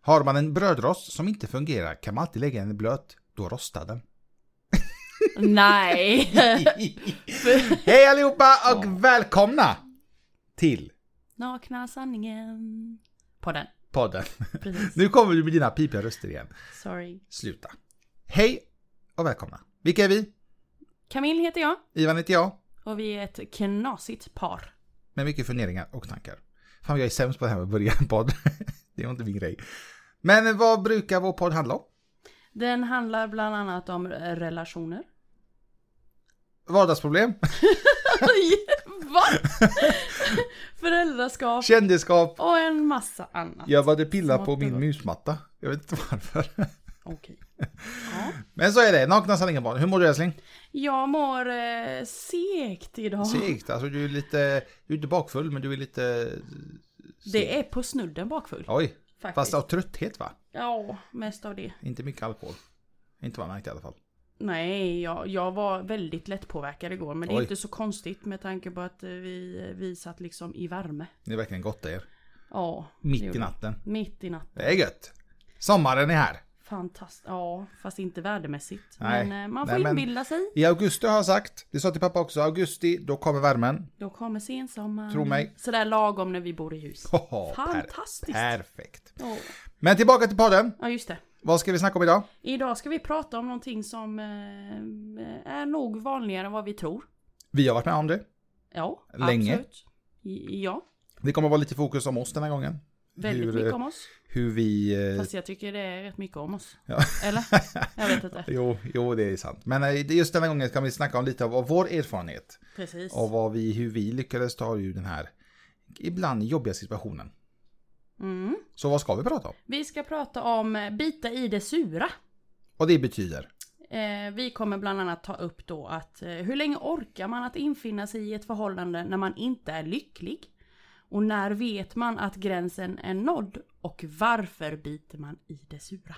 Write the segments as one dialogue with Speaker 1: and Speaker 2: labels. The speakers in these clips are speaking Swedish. Speaker 1: Har man en brödrost som inte fungerar kan man alltid lägga den i blöt. Då rostar den.
Speaker 2: Nej.
Speaker 1: Hej allihopa och välkomna till
Speaker 2: Nakna sanningen. På den.
Speaker 1: podden.
Speaker 2: Precis.
Speaker 1: Nu kommer du med dina pipiga röster igen.
Speaker 2: Sorry.
Speaker 1: Sluta. Hej och välkomna. Vilka är vi?
Speaker 2: Camille heter jag
Speaker 1: Ivan heter jag.
Speaker 2: och vi är ett knasigt par.
Speaker 1: Med mycket funderingar och tankar. Fan jag är sämst på det här med att börja en podd. Det är inte min grej. Men vad brukar vår podd handla om?
Speaker 2: Den handlar bland annat om relationer.
Speaker 1: Vardagsproblem,
Speaker 2: Va? Föräldraskap
Speaker 1: kändisskap.
Speaker 2: och en massa annat.
Speaker 1: Jag började pilla på
Speaker 2: Smått
Speaker 1: min
Speaker 2: och
Speaker 1: musmatta. Jag vet inte varför.
Speaker 2: Okej. Ja.
Speaker 1: Men så är det. Nakna sanningen barn. Hur mår du älskling?
Speaker 2: Jag mår eh, segt idag.
Speaker 1: Segt, alltså du är lite, du är inte bakfull men du är lite...
Speaker 2: Det är på snudden bakfull.
Speaker 1: Oj,
Speaker 2: faktiskt.
Speaker 1: fast av trötthet va?
Speaker 2: Ja, mest av det.
Speaker 1: Inte mycket alkohol. Inte vad jag märkt i alla fall.
Speaker 2: Nej, jag, jag var väldigt lättpåverkad igår. Men det är
Speaker 1: Oj.
Speaker 2: inte så konstigt med tanke på att eh, vi, vi satt liksom i värme.
Speaker 1: Ni har verkligen gott er.
Speaker 2: Ja. det
Speaker 1: Mitt i
Speaker 2: gjorde
Speaker 1: natten.
Speaker 2: vi. Mitt i natten.
Speaker 1: Det är gött. Sommaren är här.
Speaker 2: Fantastiskt. Ja, fast inte värdemässigt.
Speaker 1: Nej.
Speaker 2: Men eh, man
Speaker 1: Nej,
Speaker 2: får
Speaker 1: men-
Speaker 2: inbilda sig.
Speaker 1: I augusti har jag sagt, det sa till pappa också, augusti då kommer värmen.
Speaker 2: Då kommer sensommaren.
Speaker 1: Tro mig.
Speaker 2: Sådär lagom när vi bor i hus.
Speaker 1: Hoho, per-
Speaker 2: Fantastiskt.
Speaker 1: Perfekt.
Speaker 2: Ja.
Speaker 1: Men tillbaka till podden.
Speaker 2: Ja, just det.
Speaker 1: Vad ska vi snacka om idag?
Speaker 2: Idag ska vi prata om någonting som eh, är nog vanligare än vad vi tror.
Speaker 1: Vi har varit med om det.
Speaker 2: Ja,
Speaker 1: Länge.
Speaker 2: absolut. I- Ja,
Speaker 1: Det kommer vara lite fokus om oss den här gången.
Speaker 2: väldigt
Speaker 1: hur,
Speaker 2: mycket om oss.
Speaker 1: Hur vi... eh,
Speaker 2: Fast jag tycker det är rätt mycket om oss.
Speaker 1: Ja.
Speaker 2: Eller? Jag vet inte.
Speaker 1: Jo, jo, det är sant. Men eh, just den här gången kan vi snacka om lite av av vår erfarenhet.
Speaker 2: Precis.
Speaker 1: Och vad vi, hur vi lyckades ta ur den här ibland jobbiga situationen.
Speaker 2: Mm.
Speaker 1: Så vad ska vi prata om?
Speaker 2: Vi ska prata om eh, bita i det sura.
Speaker 1: Och det betyder?
Speaker 2: Eh, vi kommer bland annat ta upp då att eh, hur länge orkar man att infinna sig i ett förhållande när man inte är lycklig? Och när vet man att gränsen är nådd? Och varför biter man i det sura?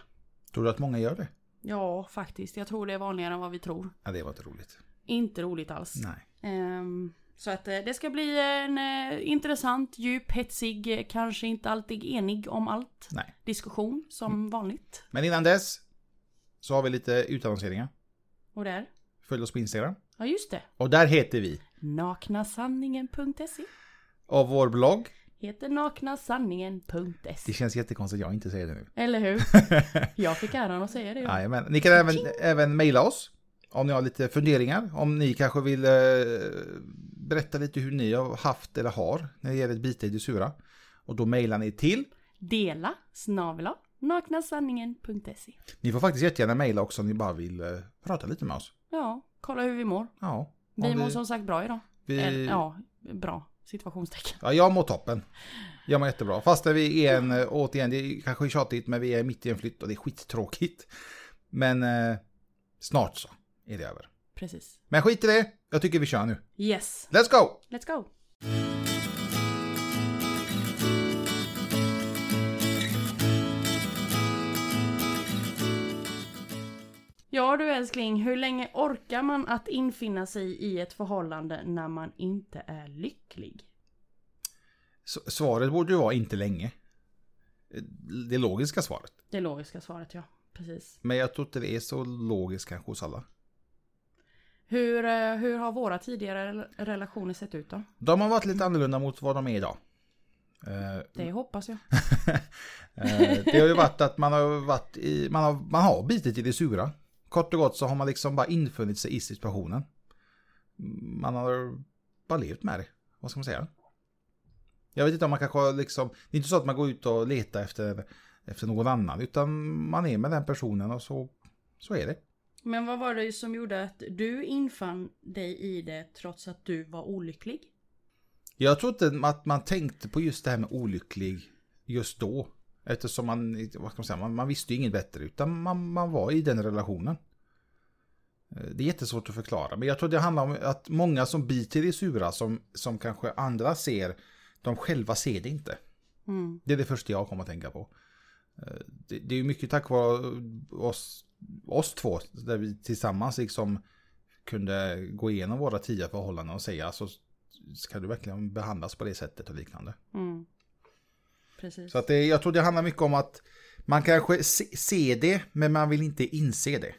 Speaker 1: Tror du att många gör det?
Speaker 2: Ja, faktiskt. Jag tror det är vanligare än vad vi tror.
Speaker 1: Ja, det var inte roligt.
Speaker 2: Inte roligt alls.
Speaker 1: Nej.
Speaker 2: Ehm, så att eh, det ska bli en eh, intressant, djup, hetsig, eh, kanske inte alltid enig om allt
Speaker 1: Nej.
Speaker 2: diskussion som
Speaker 1: Mm.
Speaker 2: vanligt.
Speaker 1: Men innan dess så har vi lite utannonseringar.
Speaker 2: Och där,
Speaker 1: Följ oss på Instagram.
Speaker 2: ja just det,
Speaker 1: Och där heter vi.
Speaker 2: naknasanningen.se
Speaker 1: Och vår blogg.
Speaker 2: heter naknasanningen.se.
Speaker 1: Det känns jättekonstigt att jag inte säger det nu.
Speaker 2: Eller hur? Jag fick äran att säga det. ju.
Speaker 1: Jajamän. Ni kan även, även mejla oss. Om ni har lite funderingar. Om ni kanske vill eh, berätta lite hur ni har haft eller har när det gäller ett bita i det sura. Och då mejlar ni till
Speaker 2: Dela snabel-a naknasanningen.se.
Speaker 1: Ni får faktiskt jättegärna mejla också om ni bara vill eh, prata lite med oss.
Speaker 2: Ja, kolla hur vi mår.
Speaker 1: Ja. om
Speaker 2: Vi mår som sagt bra idag.
Speaker 1: vi,
Speaker 2: Eller,
Speaker 1: ja.
Speaker 2: ja, bra. Situationstecken.
Speaker 1: jag mår toppen. Jag mår jättebra. Fast vi är en, eh, återigen, det är kanske tjatigt, men vi är mitt i en flytt och det är skittråkigt. Men eh, snart så är det över.
Speaker 2: Precis.
Speaker 1: Men skit i det, jag tycker vi kör nu.
Speaker 2: Yes,
Speaker 1: Let's go!
Speaker 2: let's go! Ja du älskling, hur länge orkar man att infinna sig i ett förhållande när man inte är lycklig?
Speaker 1: S- svaret borde ju vara inte länge. Eh, Det logiska svaret.
Speaker 2: Det logiska svaret ja, precis.
Speaker 1: Men jag tror inte det är så logiskt kanske hos alla.
Speaker 2: Hur, eh, hur har våra tidigare rel- relationer sett ut då?
Speaker 1: De har varit lite annorlunda mot vad de är idag. Eh,
Speaker 2: Det hoppas jag.
Speaker 1: Eh, Det har ju varit att man har varit i, man har, man har bitit i det sura. Kort och gott så har man liksom bara infunnit sig i situationen. Man har bara levt med det. Vad ska man säga? Jag vet inte om man kanske har liksom, det är inte så att man går ut och letar efter, efter någon annan, utan man är med den personen och så, så är det.
Speaker 2: Men vad var det som gjorde att du infann dig i det trots att du var olycklig?
Speaker 1: Jag tror inte att man tänkte på just det här med olycklig just då. Eftersom man, vad ska man, säga, man, man visste ju inget bättre utan man, man var i den relationen. Eh, Det är jättesvårt att förklara men jag tror det handlar om att många som biter i sura som, som kanske andra ser, de själva ser det inte.
Speaker 2: Mm.
Speaker 1: Det är det första jag kommer att tänka på. Eh, Det, det är ju mycket tack vare oss, oss två, där vi tillsammans liksom kunde gå igenom våra tidigare förhållanden och säga så ska du verkligen behandlas på det sättet och liknande.
Speaker 2: Mm. Precis.
Speaker 1: Så att det, jag tror det handlar mycket om att Man kanske se- ser det, men man vill inte inse det.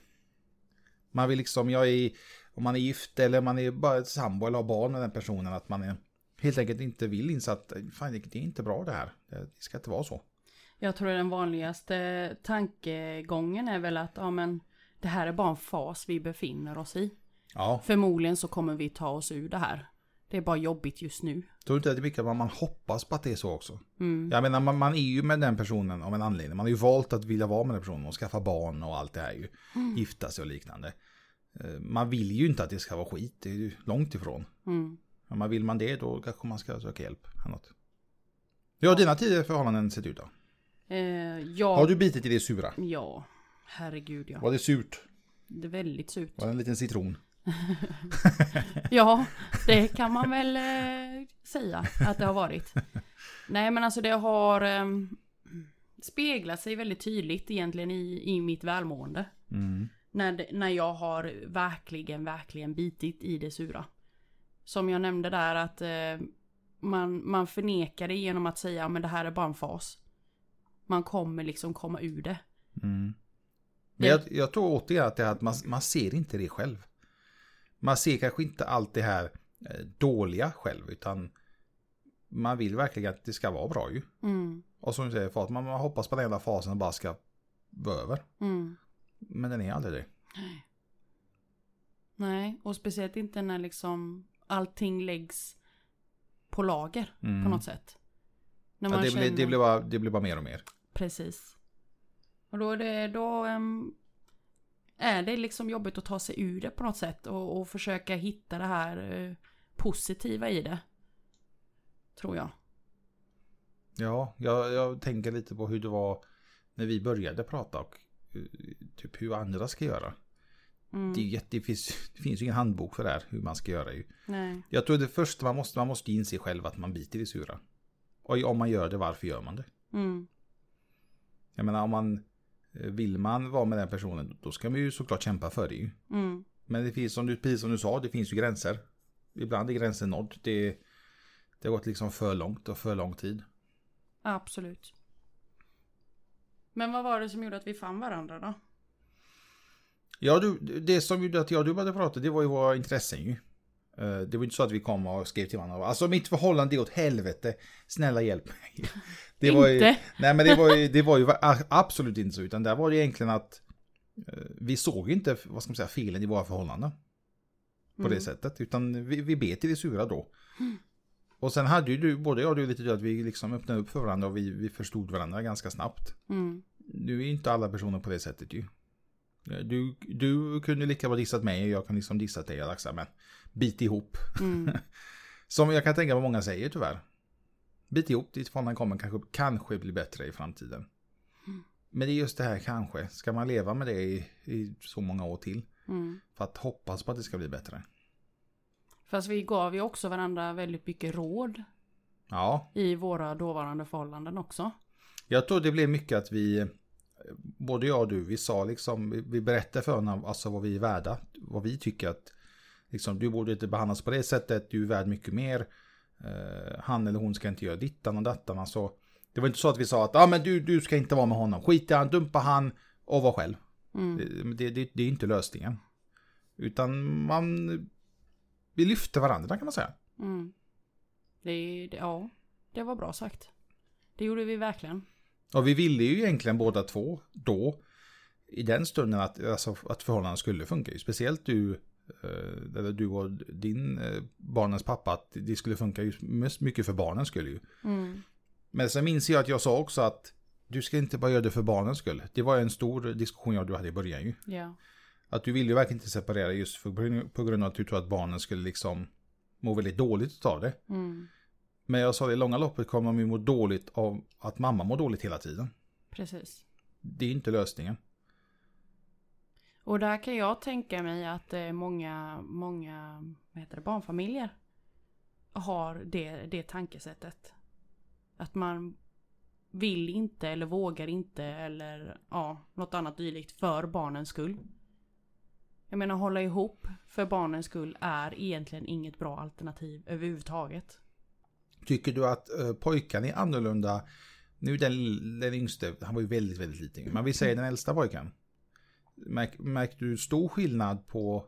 Speaker 1: Man vill liksom, jag är, om man är gift eller man är bara ett sambo eller har barn med den personen, att man är, helt enkelt inte vill inse att fan, det är inte bra det här. Det ska inte vara så.
Speaker 2: Jag tror den vanligaste tankegången är väl att ja, men, det här är bara en fas vi befinner oss i.
Speaker 1: Ja,
Speaker 2: Förmodligen så kommer vi ta oss ur det här. Det är bara jobbigt just nu.
Speaker 1: tror du inte att det är mycket att man man hoppas på att det är så också?
Speaker 2: Mm.
Speaker 1: Jag menar, man, man är ju med den personen av en anledning. Man har ju valt att vilja vara med den personen och skaffa barn och allt det här ju. Gifta sig och liknande. Eh, Man vill ju inte att det ska vara skit, det är ju långt ifrån.
Speaker 2: Mm.
Speaker 1: Men man vill man det då kanske man ska söka hjälp. eller Något. Ja, dina tidigare förhållanden sett ut då?
Speaker 2: Eh, ja,
Speaker 1: Har du bitit i det sura?
Speaker 2: ja, herregud ja.
Speaker 1: Var det surt?
Speaker 2: Det är väldigt surt.
Speaker 1: Var det en liten citron?
Speaker 2: Ja, det kan man väl eh, säga att det har varit. Nej, men alltså det har eh, speglat sig väldigt tydligt egentligen i, i mitt välmående.
Speaker 1: Mm.
Speaker 2: När, det- när jag har verkligen, verkligen bitit i det sura. Som jag nämnde där att eh, man, man förnekar det genom att säga men det här är bara en fas. Man kommer liksom komma ur det.
Speaker 1: Mm. Men jag, jag tror återigen att det är att man, man ser inte det själv. Man ser kanske inte allt det här eh, dåliga själv, utan man vill verkligen att det ska vara bra ju.
Speaker 2: Mm,
Speaker 1: Och som du säger, för att man, man hoppas på den enda fasen bara ska vara över.
Speaker 2: mm.
Speaker 1: Men den är aldrig det.
Speaker 2: Nej, och speciellt inte när liksom allting läggs på lager
Speaker 1: Mm.
Speaker 2: på något sätt. När
Speaker 1: Ja,
Speaker 2: man
Speaker 1: det,
Speaker 2: känner,
Speaker 1: blir, det, blir bara, det blir bara mer och mer.
Speaker 2: Precis. Och då är det, då ehm, är det liksom jobbigt att ta sig ur det på något sätt och, och försöka hitta det här eh, positiva i det. Tror jag.
Speaker 1: Ja, jag, jag tänker lite på hur det var när vi började prata och eh, typ hur andra ska göra.
Speaker 2: Mm.
Speaker 1: Det, är ju jätte, det, finns, det finns ju ingen handbok för det här, hur man ska göra ju.
Speaker 2: Nej.
Speaker 1: Jag tror det första man måste, man måste inse själv att man biter i det sura. Och om man gör det, varför gör man det?
Speaker 2: Mm.
Speaker 1: Jag menar om man eh, vill man vara med den personen, då ska man ju såklart kämpa för det ju.
Speaker 2: Mm.
Speaker 1: Men det finns som du, precis som du sa, det finns ju gränser. Ibland är gränsen nådd. Det, det har gått liksom för långt och för lång tid.
Speaker 2: Absolut. Men vad var det som gjorde att vi fann varandra då?
Speaker 1: Ja, du, det som gjorde att jag och du började prata, det var ju våra intressen ju. Eh, Det var ju inte så att vi kom och skrev till varandra. Alltså mitt förhållande är åt helvete. Snälla hjälp mig. Det var ju,
Speaker 2: Inte.
Speaker 1: nej men det var ju, det var ju a- absolut inte så. Utan där var det egentligen att eh, vi såg inte, vad ska man säga, felen i våra förhållanden. På
Speaker 2: Mm,
Speaker 1: det sättet. Utan vi, vi bet i det sura då. Och sen hade ju du, både jag och du lite tur att vi liksom öppnade upp för varandra och vi, vi förstod varandra ganska snabbt.
Speaker 2: Mm.
Speaker 1: Nu är ju inte alla personer på det sättet ju. Du, du kunde lika bra dissat mig och jag kunde liksom dissat dig Alexa, men bit ihop.
Speaker 2: Mm.
Speaker 1: Som jag kan tänka vad många säger tyvärr. Bit ihop, ditt förhållande kommer kanske, kanske bli bättre i framtiden. Men det är just det här kanske. Ska man leva med det i, i så många år till?
Speaker 2: Mm.
Speaker 1: För att hoppas på att det ska bli bättre.
Speaker 2: Fast vi gav ju också varandra väldigt mycket råd
Speaker 1: Ja,
Speaker 2: i våra dåvarande förhållanden också.
Speaker 1: Jag tror det blev mycket att vi, både jag och du, vi sa liksom, vi- vi berättade för honom alltså vad vi är värda, vad vi tycker att liksom, du borde inte behandlas på det sättet, du är värd mycket mer, eh, han eller hon ska inte göra dittan och dattan, alltså. Det var inte så att vi sa att ah, men du, du ska inte vara med honom, skit i han, dumpa han och var själv.
Speaker 2: Mm.
Speaker 1: Det, det, det, det är inte lösningen. Utan man, vi lyfte varandra kan man säga.
Speaker 2: Mm. Det, det, ja, det var bra sagt. Det gjorde vi verkligen.
Speaker 1: Och vi ville ju egentligen båda två då i den stunden att, alltså, att förhållandena skulle funka. ju. Speciellt du, eh, eller du och din eh, barnens pappa att det skulle funka ju mest mycket för barnen skulle ju.
Speaker 2: Mm.
Speaker 1: Men sen minns jag att jag sa också att du ska inte bara göra det för barnens skull. Det var ju en stor diskussion jag och du hade i början ju.
Speaker 2: Ja.
Speaker 1: Att du ville ju verkligen inte separera just för, på grund av att du tror att barnen skulle liksom må väldigt dåligt av det.
Speaker 2: Mm.
Speaker 1: Men jag sa det i långa loppet kommer de ju må dåligt av att mamma mår dåligt hela tiden.
Speaker 2: Precis.
Speaker 1: Det är inte lösningen.
Speaker 2: Och där kan jag tänka mig att eh, många, många vad heter det, barnfamiljer har det, det tankesättet. Att man vill inte eller vågar inte eller ja, något annat dylikt för barnens skull. Jag menar hålla ihop för barnens skull är egentligen inget bra alternativ överhuvudtaget.
Speaker 1: Tycker du att eh, pojkarna är annorlunda Nu den, den yngste, han var ju väldigt, väldigt liten. Men vi säger den äldsta pojken. Märk, märkte du stor skillnad på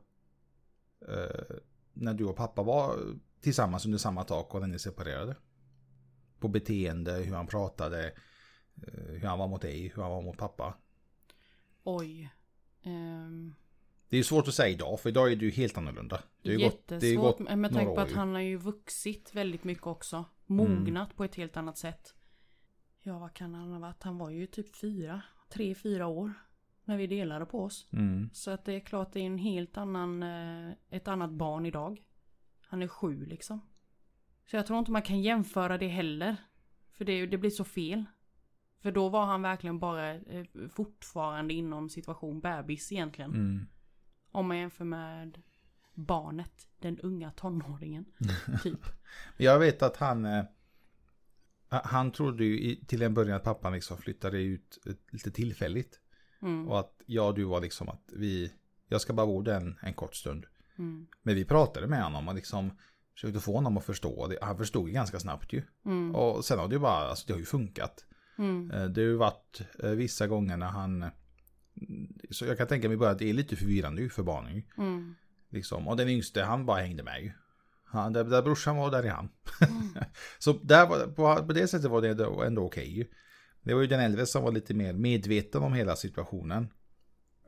Speaker 1: eh, när du och pappa var tillsammans under samma tak och när ni separerade? På beteende, hur han pratade, eh, hur han var mot dig, hur han var mot pappa.
Speaker 2: Oj. Ehm,
Speaker 1: Det är ju svårt att säga idag, för idag är du helt annorlunda. Det har ju gått, det har ju
Speaker 2: jättesvårt
Speaker 1: gått
Speaker 2: med med
Speaker 1: några
Speaker 2: tanke på
Speaker 1: år
Speaker 2: att
Speaker 1: ju. Mm.
Speaker 2: han har ju vuxit väldigt mycket också. Mognat på ett helt annat sätt. Ja, vad kan han ha varit? Han var ju typ fyra, tre, fyra år. När vi delade på oss.
Speaker 1: Mm.
Speaker 2: Så att det är klart det är en helt annan, eh, ett annat barn idag. Han är sju liksom. Så jag tror inte man kan jämföra det heller. För det, det blir så fel. För då var han verkligen bara eh, fortfarande inom situation bebis egentligen.
Speaker 1: Mm.
Speaker 2: Om man jämför med barnet, den unga tonåringen. Typ.
Speaker 1: Jag vet att han... eh, Han trodde ju i- till en början att pappan liksom flyttade ut eh, lite tillfälligt.
Speaker 2: Mm,
Speaker 1: Och att jag och du var liksom att vi... Jag ska bara bo där en, en kort stund.
Speaker 2: mm,
Speaker 1: Men vi pratade med honom och liksom försökte få honom att förstå. Det- Han förstod ju ganska snabbt ju.
Speaker 2: mm,
Speaker 1: Och sen har det ju bara, alltså det har ju funkat.
Speaker 2: mm,
Speaker 1: Eh, Det har ju varit eh, vissa gånger när han... Så jag kan tänka mig bara att det är lite förvirrande ju för barnen ju.
Speaker 2: mm.
Speaker 1: Liksom. Och den yngste han bara hängde med ju. Han, där, där brorsan var, där är han. så där, var- på, på det sättet var det ändå ändå okej ju. Det var ju den äldre som var lite mer medveten om hela situationen.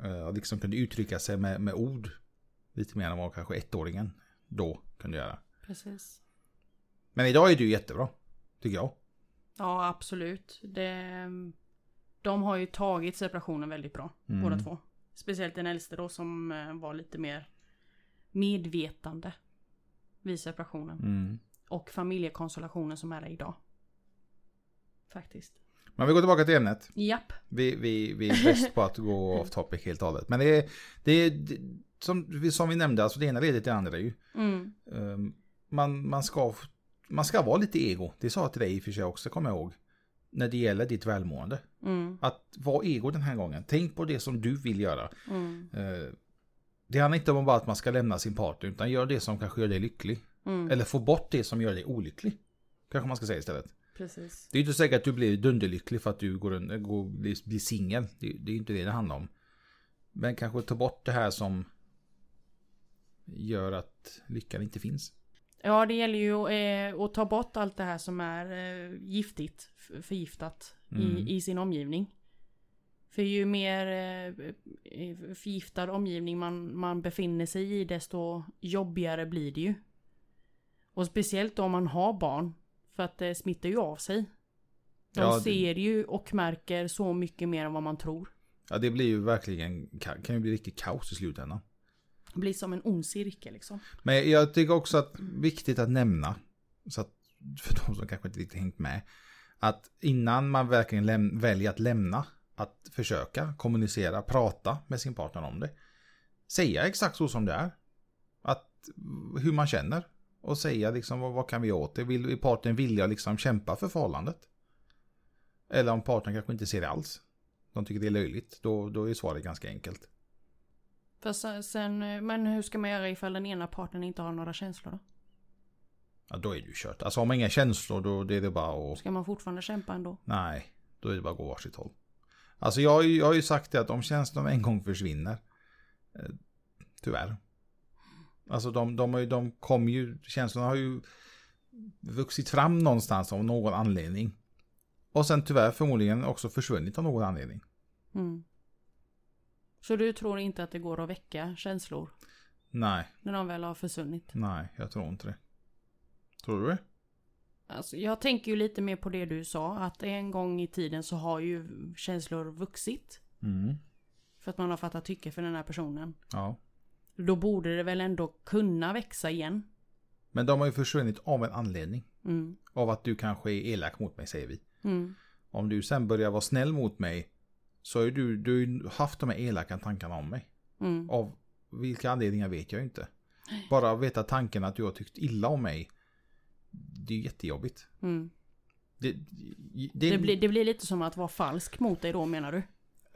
Speaker 1: Eh, Och liksom kunde uttrycka sig med, med ord. Lite mer än vad kanske ettåringen då kunde göra.
Speaker 2: Precis.
Speaker 1: Men idag är du jättebra. Tycker jag.
Speaker 2: Ja, absolut. Det, de har ju tagit separationen väldigt bra,
Speaker 1: Mm.
Speaker 2: båda två. Speciellt den äldste då som eh, var lite mer medvetande vid separationen.
Speaker 1: Mm.
Speaker 2: Och familjekonstellationen som är där idag. Faktiskt.
Speaker 1: Men vi går tillbaka till ämnet.
Speaker 2: Japp.
Speaker 1: Vi, vi, vi är bäst på att gå off topic helt och hållet. Men det är, det är det, som, vi- som vi nämnde, alltså det ena leder till det andra ju.
Speaker 2: Mm.
Speaker 1: Ehm, man, man, ska, man ska vara lite ego. Det sa jag till dig i och för sig också, kommer jag ihåg. När det gäller ditt välmående.
Speaker 2: Mm.
Speaker 1: Att vara ego den här gången. Tänk på det som du vill göra.
Speaker 2: Mm.
Speaker 1: Ehm, det handlar inte om bara att man ska lämna sin partner, utan gör det som kanske gör dig lycklig.
Speaker 2: Mm.
Speaker 1: Eller få bort det som gör dig olycklig. Kanske man ska säga istället.
Speaker 2: Precis.
Speaker 1: Det är inte säkert att du blir dunderlycklig för att du går, en- går, blir, blir singel. Det, det är inte det det handlar om. Men kanske ta bort det här som gör att lyckan inte finns.
Speaker 2: Ja, det gäller ju eh, att ta bort allt det här som är eh, giftigt, f- förgiftat
Speaker 1: Mm.
Speaker 2: i, i sin omgivning. För ju mer eh, förgiftad omgivning man, man befinner sig i, desto jobbigare blir det ju. Och speciellt om man har barn, för att det smittar ju av sig. De
Speaker 1: Ja, det-
Speaker 2: ser ju och märker så mycket mer än vad man tror.
Speaker 1: Ja, det blir ju verkligen, ka- kan ju bli riktigt kaos i slutändan.
Speaker 2: Det blir som en ond cirkel liksom.
Speaker 1: Men jag tycker också att viktigt att nämna, så att, för de som kanske inte riktigt hängt med, att innan man verkligen läm- väljer att lämna, att försöka kommunicera, prata med sin partner om det. Säga exakt så som det är. Att, mm, hur man känner. Och säga liksom, vad, vad kan vi göra åt det? Vill är partnern vilja liksom kämpa för förhållandet? Eller om partnern kanske inte ser det alls. De tycker det är löjligt. Då, då är svaret ganska enkelt.
Speaker 2: För sen, sen, eh, men hur ska man göra ifall den ena parten inte har några känslor då?
Speaker 1: Ja, då är det ju kört. Alltså har man inga känslor då det är det bara att...
Speaker 2: Ska man fortfarande kämpa ändå?
Speaker 1: Nej, då är det bara att gå varsitt håll. Alltså jag, har ju- jag har ju sagt det att om känslorna en gång försvinner. Eh, tyvärr. Alltså de, de, har ju- de kom ju, känslorna har ju vuxit fram någonstans av någon anledning. Och sen tyvärr förmodligen också försvunnit av någon anledning.
Speaker 2: Mm. Så du tror inte att det går att väcka känslor
Speaker 1: Nej,
Speaker 2: när de väl har försvunnit?
Speaker 1: nej, jag tror inte det. Tror du det?
Speaker 2: Alltså, jag tänker ju lite mer på det du sa, att en gång i tiden så har ju känslor vuxit.
Speaker 1: Mm.
Speaker 2: För att man har fattat tycke för den här personen.
Speaker 1: Ja.
Speaker 2: Då borde det väl ändå kunna växa igen.
Speaker 1: Men de har ju försvunnit av en anledning.
Speaker 2: Mm.
Speaker 1: Av att du kanske är elak mot mig säger vi.
Speaker 2: Mm.
Speaker 1: Om du sen börjar vara snäll mot mig så har ju du, du har ju haft de här elaka tankarna om mig.
Speaker 2: Mm.
Speaker 1: Av vilka anledningar vet jag inte. Bara att veta tanken att du har tyckt illa om mig. Det är ju jättejobbigt.
Speaker 2: Mm.
Speaker 1: Det, det,
Speaker 2: Det, blir, det blir lite som att vara falsk mot dig då menar du?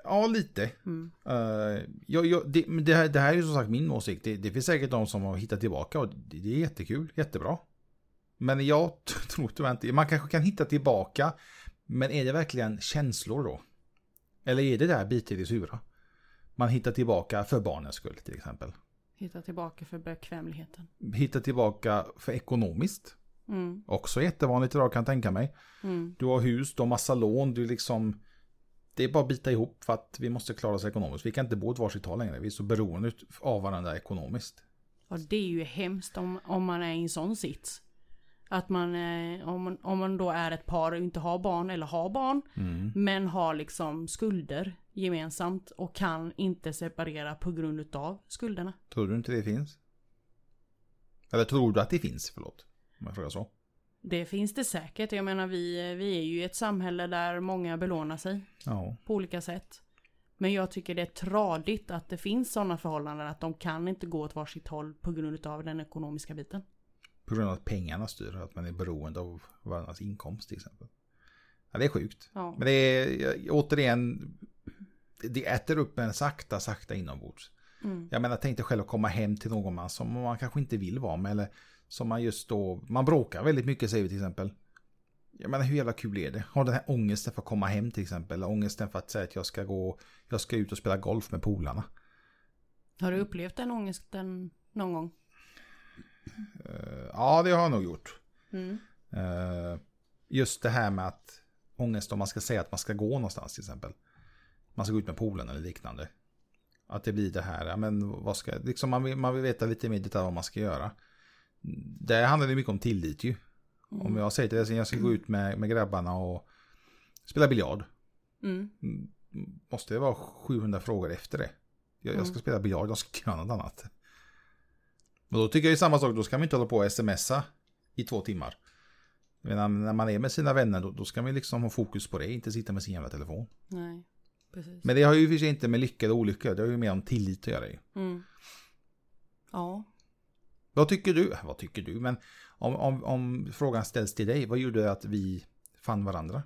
Speaker 1: Ja, lite.
Speaker 2: Mm.
Speaker 1: Eh, jag, jag, det, men det, här, det här är ju som sagt min åsikt. Det, det finns säkert de som har hittat tillbaka och det, det är jättekul, jättebra. Men jag tror tyvärr inte, man kanske kan hitta tillbaka Men är det verkligen känslor då? Eller är det där bit i det sura? Man hittar tillbaka för barnens skull till exempel.
Speaker 2: Hitta tillbaka för bekvämligheten.
Speaker 1: Hittar tillbaka för ekonomiskt.
Speaker 2: Mm,
Speaker 1: Också jättevanligt idag kan jag tänka mig.
Speaker 2: mm,
Speaker 1: Du har hus, du har massa lån, du liksom... Det är bara att bita ihop för att vi måste klara oss ekonomiskt. Vi kan inte bo åt varsitt håll längre. Vi är så beroende ut- av varandra ekonomiskt.
Speaker 2: och det är ju hemskt om, om man är i en sån sits. Att man, eh, om, man- om man då är ett par och inte har barn eller har barn. Men har liksom skulder gemensamt och kan inte separera på grund utav skulderna.
Speaker 1: Tror du inte det finns? Eller tror du att det finns? Förlåt. Om jag frågar så.
Speaker 2: Det finns det säkert. Jag menar vi, vi är ju i ett samhälle där många belånar sig
Speaker 1: Ja.
Speaker 2: på olika sätt. Men jag tycker det är tradigt att det finns sådana förhållanden att de kan inte gå åt varsitt håll på grund utav den ekonomiska biten.
Speaker 1: På grund av att pengarna styr, att man är beroende av varandras inkomst till exempel. Ja, det är sjukt.
Speaker 2: Ja.
Speaker 1: Men det är jag- återigen, det äter upp en sakta, sakta inombords.
Speaker 2: Mm.
Speaker 1: Jag menar, tänk dig själv att komma hem till någon man som man kanske inte vill vara med eller som man just då, man bråkar väldigt mycket säger vi till exempel. Jag menar hur jävla kul är det? Har den här ångesten för att komma hem till exempel, eller ångesten för att säga att jag ska gå, jag ska ut och spela golf med polarna.
Speaker 2: Har du upplevt den ångesten någon gång?
Speaker 1: Eh, Ja, det har jag nog gjort.
Speaker 2: Mm.
Speaker 1: Eh, Just det här med att ångest om man ska säga att man ska gå någonstans till exempel. Man ska gå ut med polen eller liknande. Att det blir det här, ja, men vad ska, liksom man, vill, man vill veta lite mer detalj vad man ska göra. Det handlar ju mycket om tillit ju. Om jag säger till dig att jag ska gå ut med, med grabbarna och spela biljard.
Speaker 2: Mm.
Speaker 1: Måste det vara 700 frågor efter det? Jag, jag ska spela biljard, jag ska göra något annat. Men då tycker jag ju samma sak, då ska man inte hålla på och smsa i två timmar. Jag menar, när man är med sina vänner då, då ska man ju liksom ha fokus på det, inte sitta med sin jävla telefon.
Speaker 2: Nej, precis.
Speaker 1: Men det har ju i och för sig inte med lycka eller olycka, det har ju mer om tillit att göra ju.
Speaker 2: Mm. Ja,
Speaker 1: Vad tycker du? Vad tycker du? Men om, om, om frågan ställs till dig, vad gjorde att vi fann varandra?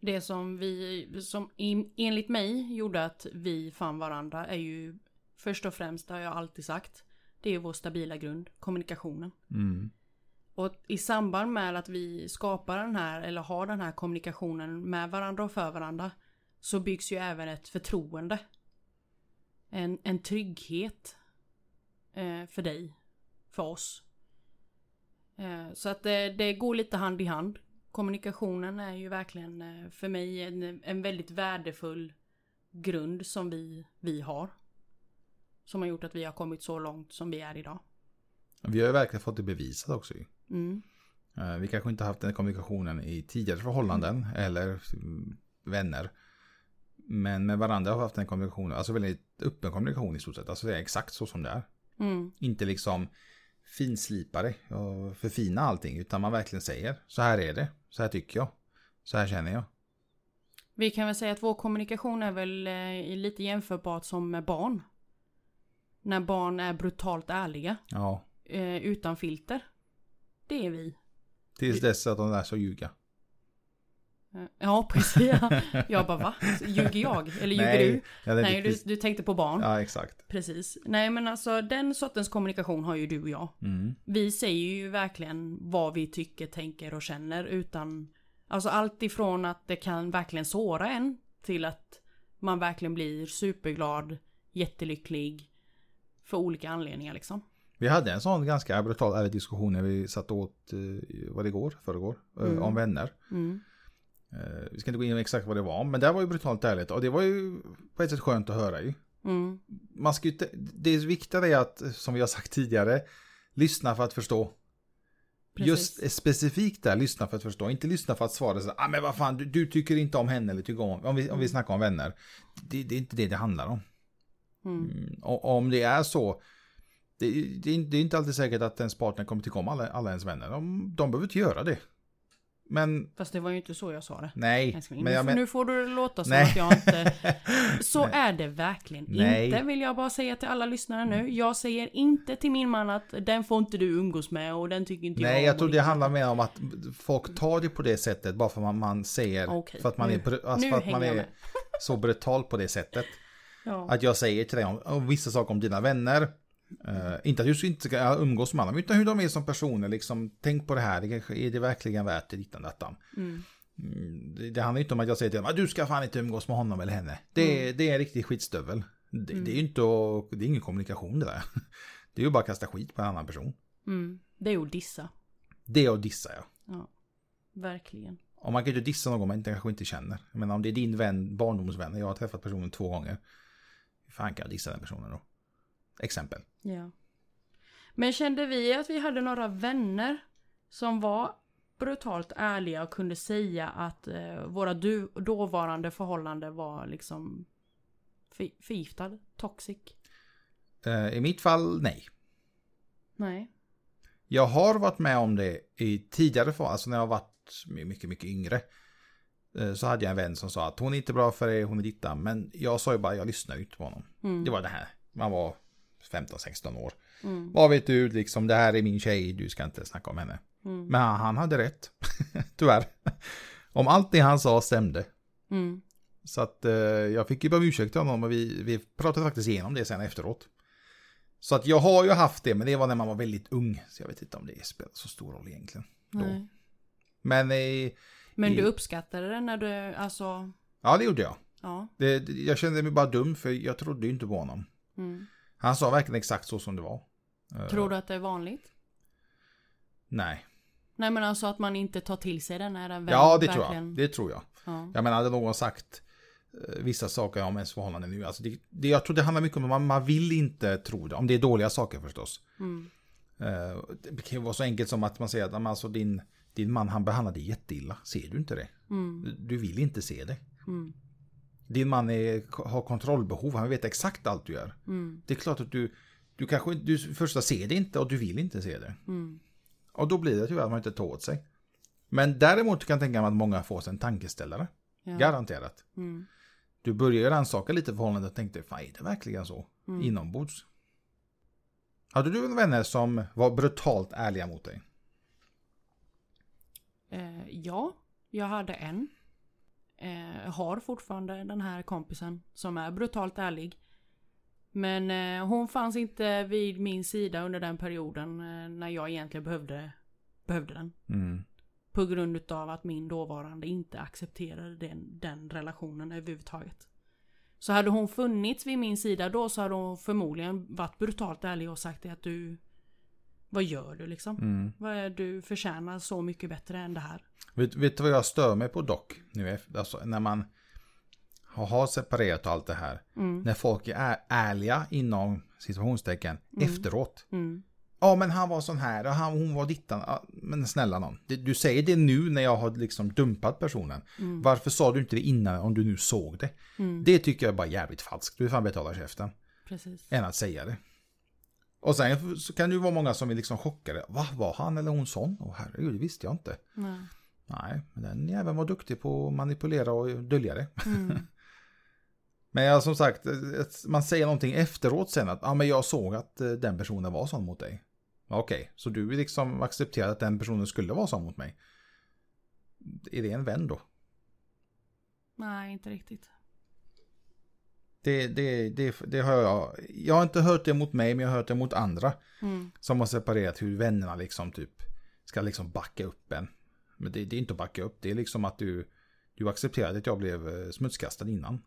Speaker 2: det som vi, som in, enligt mig gjorde att vi fann varandra är ju först och främst, det har jag alltid sagt, det är vår stabila grund, kommunikationen.
Speaker 1: Mm.
Speaker 2: Och i samband med att vi skapar den här eller har den här kommunikationen med varandra och för varandra så byggs ju även ett förtroende. En, en trygghet eh, för dig, för oss. Eh, så att det, det går lite hand i hand. Kommunikationen är ju verkligen eh, för mig en, en väldigt värdefull grund som vi, vi har. Som har gjort att vi har kommit så långt som vi är idag.
Speaker 1: Vi har ju verkligen fått det bevisat också ju.
Speaker 2: Mm.
Speaker 1: Eh, Vi kanske inte haft den kommunikationen i tidigare förhållanden eller mm, vänner. Men med varandra har vi haft den kommunikationen, alltså väldigt öppen kommunikation i stort sett. Alltså det är exakt så som det är.
Speaker 2: Mm.
Speaker 1: Inte liksom finslipare och förfina allting, utan man verkligen säger så här är det, så här tycker jag, så här känner jag.
Speaker 2: Vi kan väl säga att vår kommunikation är väl eh, lite jämförbart som med barn. När barn är brutalt ärliga,
Speaker 1: Ja,
Speaker 2: eh, utan filter. Det är vi.
Speaker 1: tills dess att de lär sig att ljuga.
Speaker 2: Eh, Ja, precis. Jag bara va? Ljuger jag? Eller ljuger du?
Speaker 1: Ja, det är
Speaker 2: Nej,
Speaker 1: inte
Speaker 2: du,
Speaker 1: precis-
Speaker 2: du tänkte på barn.
Speaker 1: ja exakt.
Speaker 2: Precis. Nej, men alltså den sortens kommunikation har ju du och jag.
Speaker 1: Mm.
Speaker 2: Vi säger ju verkligen vad vi tycker, tänker och känner utan... Alltså allt ifrån att det kan verkligen såra en till att man verkligen blir superglad, jättelycklig. För olika anledningar liksom.
Speaker 1: Vi hade en sån ganska brutal ärlig diskussion när vi satt åt, vad det går, förrgår, eh,
Speaker 2: Mm.
Speaker 1: om vänner.
Speaker 2: Mm.
Speaker 1: Eh, Vi ska inte gå in på exakt vad det var, men det här var ju brutalt ärligt. Och det var ju på ett sätt skönt att höra ju.
Speaker 2: Mm.
Speaker 1: Man ska ju inte, det viktiga är att, som vi har sagt tidigare, lyssna för att förstå.
Speaker 2: Precis.
Speaker 1: Just specifikt där, lyssna för att förstå. Inte lyssna för att svara så ah, men vad fan, du, du tycker inte om henne eller tycker om, om vi, om vi snackar om vänner. Det, det är inte det det handlar om.
Speaker 2: Mm.
Speaker 1: Mm, Och om det är så, det, det, är inte- det är inte alltid säkert att ens partner kommer tycka om alla, alla ens vänner. De, de behöver inte göra det. Men
Speaker 2: Fast det var ju inte så jag sa det.
Speaker 1: nej,
Speaker 2: älskling.
Speaker 1: men jag
Speaker 2: nu,
Speaker 1: men...
Speaker 2: nu får du det låta som
Speaker 1: Nej.
Speaker 2: att jag inte... Så är det verkligen
Speaker 1: Nej. Mm.
Speaker 2: inte vill jag bara säga till alla lyssnare nu. Jag säger inte till min man att den får inte du umgås med och den tycker inte
Speaker 1: Nej,
Speaker 2: om
Speaker 1: jag
Speaker 2: och
Speaker 1: tror det
Speaker 2: liksom.
Speaker 1: handlar mer om att folk tar det på det sättet bara för att man, man säger
Speaker 2: Okej, Mm.
Speaker 1: för att man
Speaker 2: nu-
Speaker 1: är, br- alltså
Speaker 2: nu
Speaker 1: för att man
Speaker 2: hänger jag
Speaker 1: är
Speaker 2: med.
Speaker 1: så brutal på det sättet.
Speaker 2: Ja.
Speaker 1: Att jag säger till dig om, om vissa saker om dina vänner. Eh, inte att du inte ska umgås med dem, utan hur de är som personer. Liksom, tänk på det här, det kanske- är det verkligen värt det? Dittan, dattan.
Speaker 2: Mm.
Speaker 1: Mm, Det, det handlar ju inte om att jag säger till dem att du ska fan inte umgås med honom eller henne. Det,
Speaker 2: Mm.
Speaker 1: är- det är en riktig skitstövel. Det, det är ju inte att- det är ingen kommunikation det där. Det är ju bara att kasta skit på en annan person.
Speaker 2: Mm. Det är ju att dissa.
Speaker 1: Det är att dissa ja.
Speaker 2: Ja. Verkligen.
Speaker 1: Och man kan ju inte dissa någon man inte, kanske inte känner. Men om det är din vän, barndomsvän, jag har träffat personen två gånger. Hur fan kan jag dissa den personen då? Exempel.
Speaker 2: Ja. Men kände vi att vi hade några vänner som var brutalt ärliga och kunde säga att eh, våra du- dåvarande förhållanden var liksom för- förgiftad, toxic?
Speaker 1: Eh, I mitt fall, nej.
Speaker 2: Nej.
Speaker 1: Jag har varit med om det i tidigare fall, alltså när jag har varit mycket, mycket yngre. Eh, Så hade jag en vän som sa att hon är inte bra för dig, hon är dittan. Men jag sa ju bara, jag lyssnar ju inte på honom.
Speaker 2: Mm.
Speaker 1: Det var det här, man var 15-16 år.
Speaker 2: Mm.
Speaker 1: Vad vet du, liksom det här är min tjej, du ska inte snacka om henne.
Speaker 2: Mm.
Speaker 1: Men han- han hade rätt, tyvärr. Om allt det han sa stämde.
Speaker 2: Mm.
Speaker 1: Så att eh, jag fick ju be om ursäkt till honom och vi, vi pratade faktiskt igenom det sen efteråt. Så att jag har ju haft det, men det var när man var väldigt ung. Så jag vet inte om det spelar så stor roll egentligen. Då.
Speaker 2: Nej.
Speaker 1: Men eh,
Speaker 2: Men du
Speaker 1: I-
Speaker 2: uppskattade det när du, alltså,
Speaker 1: ja, det gjorde jag.
Speaker 2: ja.
Speaker 1: Det, det- jag kände mig bara dum för jag trodde ju inte på honom.
Speaker 2: Mm.
Speaker 1: Han sa verkligen exakt så som det var. Eh,
Speaker 2: Tror du att det är vanligt?
Speaker 1: Nej.
Speaker 2: Nej men alltså att man inte tar till sig den här vännen.
Speaker 1: ja, det tror
Speaker 2: verkligen.
Speaker 1: jag. Det tror jag.
Speaker 2: Ja.
Speaker 1: Jag menar, hade någon sagt eh, vissa saker om ens förhållande nu. Alltså det, det, jag tror det handlar mycket om att man, man vill inte tro det. Om det är dåliga saker förstås.
Speaker 2: Mm.
Speaker 1: Eh, Det kan ju vara så enkelt som att man säger att "Men alltså, din, din man han behandlar dig jätteilla. Ser du inte det?
Speaker 2: Mm.
Speaker 1: Du vill inte se det.
Speaker 2: Mm.
Speaker 1: Din man är, har kontrollbehov, han vet exakt allt du gör.
Speaker 2: Mm.
Speaker 1: Det är klart att du, du kanske inte- du första ser det inte och du vill inte se det.
Speaker 2: Mm.
Speaker 1: Och då blir det tyvärr att man inte tar åt sig. Men däremot kan jag tänka mig att många får sig en tankeställare.
Speaker 2: Ja.
Speaker 1: Garanterat.
Speaker 2: Mm.
Speaker 1: Du börjar ju rannsaka lite förhållandet och tänkte, fan är det verkligen så?
Speaker 2: Mm.
Speaker 1: Inombords. Hade du vänner som var brutalt ärliga mot dig?
Speaker 2: Eh, ja, jag hade en. Eh, har fortfarande den här kompisen som är brutalt ärlig. Men eh, hon fanns inte vid min sida under den perioden eh, när jag egentligen behövde, behövde den.
Speaker 1: Mm.
Speaker 2: På grund utav att min dåvarande inte accepterade den, den relationen överhuvudtaget. Så hade hon funnits vid min sida då så hade hon förmodligen varit brutalt ärlig och sagt det att du... Vad gör du liksom?
Speaker 1: Mm.
Speaker 2: Vad är, du förtjänar så mycket bättre än det här.
Speaker 1: Vet, vet du vad jag stör mig på dock? Nu är, alltså, när man har- har separerat och allt det här.
Speaker 2: Mm.
Speaker 1: När folk är ärliga inom situationstecken efteråt.
Speaker 2: Mm.
Speaker 1: Ja men han var sån här och han, hon var dittan. Ja, men snälla någon. Det- Du säger det nu när jag har liksom dumpat personen. Varför sa du inte det innan om du nu såg det? Det tycker jag är bara jävligt falskt. Du får fan betala käften.
Speaker 2: Precis.
Speaker 1: Än att säga det. Och sen så kan det ju vara många som är liksom chockade. Va, var han eller hon sån? Åh herregud, det visste jag inte.
Speaker 2: Nej.
Speaker 1: Nej, men den jäveln var duktig på att manipulera och dölja det.
Speaker 2: Mm.
Speaker 1: Men jag, som sagt, ett- man säger någonting efteråt sen att ah, men jag såg att eh, den personen var sån mot dig. Ja, Okej, så du liksom accepterade att den personen skulle vara sån mot mig. Är det en vän då?
Speaker 2: Nej, inte riktigt.
Speaker 1: Det, det, det, det har jag. Jag har inte hört det mot mig, men jag har hört det mot andra.
Speaker 2: Mm.
Speaker 1: Som har separerat hur vännerna liksom typ ska liksom backa upp en. Men det, det är inte att backa upp, det är liksom att du, du accepterade att jag blev eh, smutskastad innan.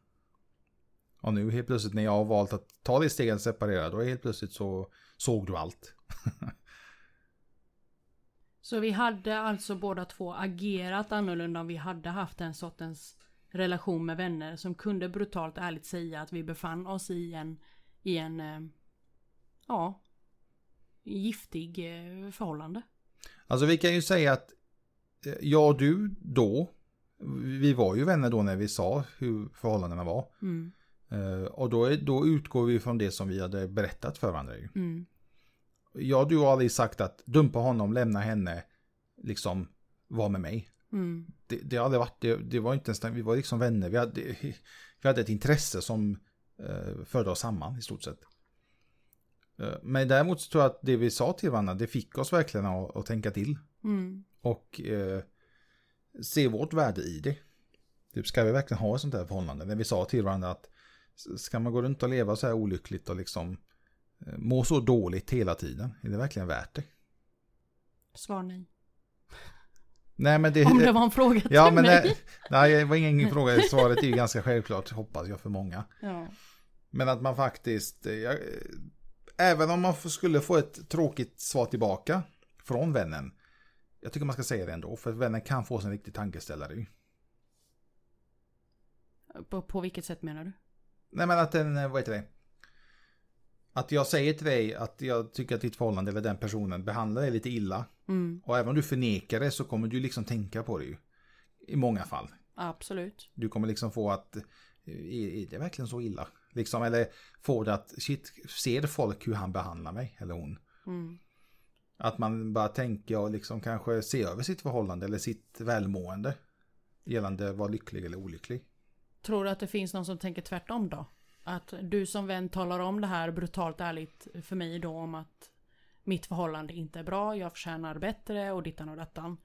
Speaker 1: Och nu helt plötsligt när jag har valt att ta det steget att separera, då är helt plötsligt så såg du allt.
Speaker 2: Så vi hade alltså båda två agerat annorlunda om vi hade haft den sortens relation med vänner som kunde brutalt ärligt säga att vi befann oss i en, i en, eh, ja, giftig eh, förhållande.
Speaker 1: Alltså vi kan ju säga att eh, jag och du då, vi var ju vänner då när vi sa hur förhållandena var.
Speaker 2: Mm.
Speaker 1: Eh, Och då, är, då utgår vi från det som vi hade berättat för varandra ju.
Speaker 2: Mm.
Speaker 1: Jag du har aldrig sagt att dumpa honom, lämna henne, liksom var med mig.
Speaker 2: Mm.
Speaker 1: Det, det har aldrig varit, det, det var inte ens, vi var liksom vänner, vi hade, vi hade ett intresse som eh, förde oss samman i stort sett. Eh, men däremot så tror jag att det vi sa till varandra, det fick oss verkligen att, att tänka till.
Speaker 2: Mm.
Speaker 1: Och eh, se vårt värde i det. Typ, ska vi verkligen ha ett sånt här förhållande? När vi sa till varandra att Ska man gå runt och leva så här olyckligt och liksom eh, må så dåligt hela tiden? Är det verkligen värt det?
Speaker 2: Svar nej.
Speaker 1: Nej men det...
Speaker 2: Om det var en fråga till
Speaker 1: Eh, ja, men eh,
Speaker 2: mig.
Speaker 1: nej, nej, det var ingen fråga. Svaret är ju ganska självklart, hoppas jag, för många.
Speaker 2: Ja.
Speaker 1: Men att man faktiskt, eh, jag, eh, även om man f- skulle få ett tråkigt svar tillbaka från vännen, jag tycker man ska säga det ändå, för vännen kan få sig en riktig tankeställare. ju.
Speaker 2: På, på vilket sätt menar du?
Speaker 1: Nej men att den, eh, vad heter det? Att jag säger till dig att jag tycker att ditt förhållande eller den personen behandlar dig lite illa.
Speaker 2: Mm,
Speaker 1: Och även om du förnekar det så kommer du liksom tänka på det ju. I många fall.
Speaker 2: absolut.
Speaker 1: Du kommer liksom få att, eh, är är det verkligen så illa? Liksom, eller få det att, shit, ser folk hur han behandlar mig eller hon?
Speaker 2: Mm.
Speaker 1: Att man bara tänker och liksom kanske ser över sitt förhållande eller sitt välmående. Gällande var lycklig eller olycklig.
Speaker 2: Tror du att det finns någon som tänker tvärtom då? Att du som vän talar om det här brutalt ärligt för mig då om att mitt förhållande inte är bra, jag förtjänar bättre och dittan och dattan.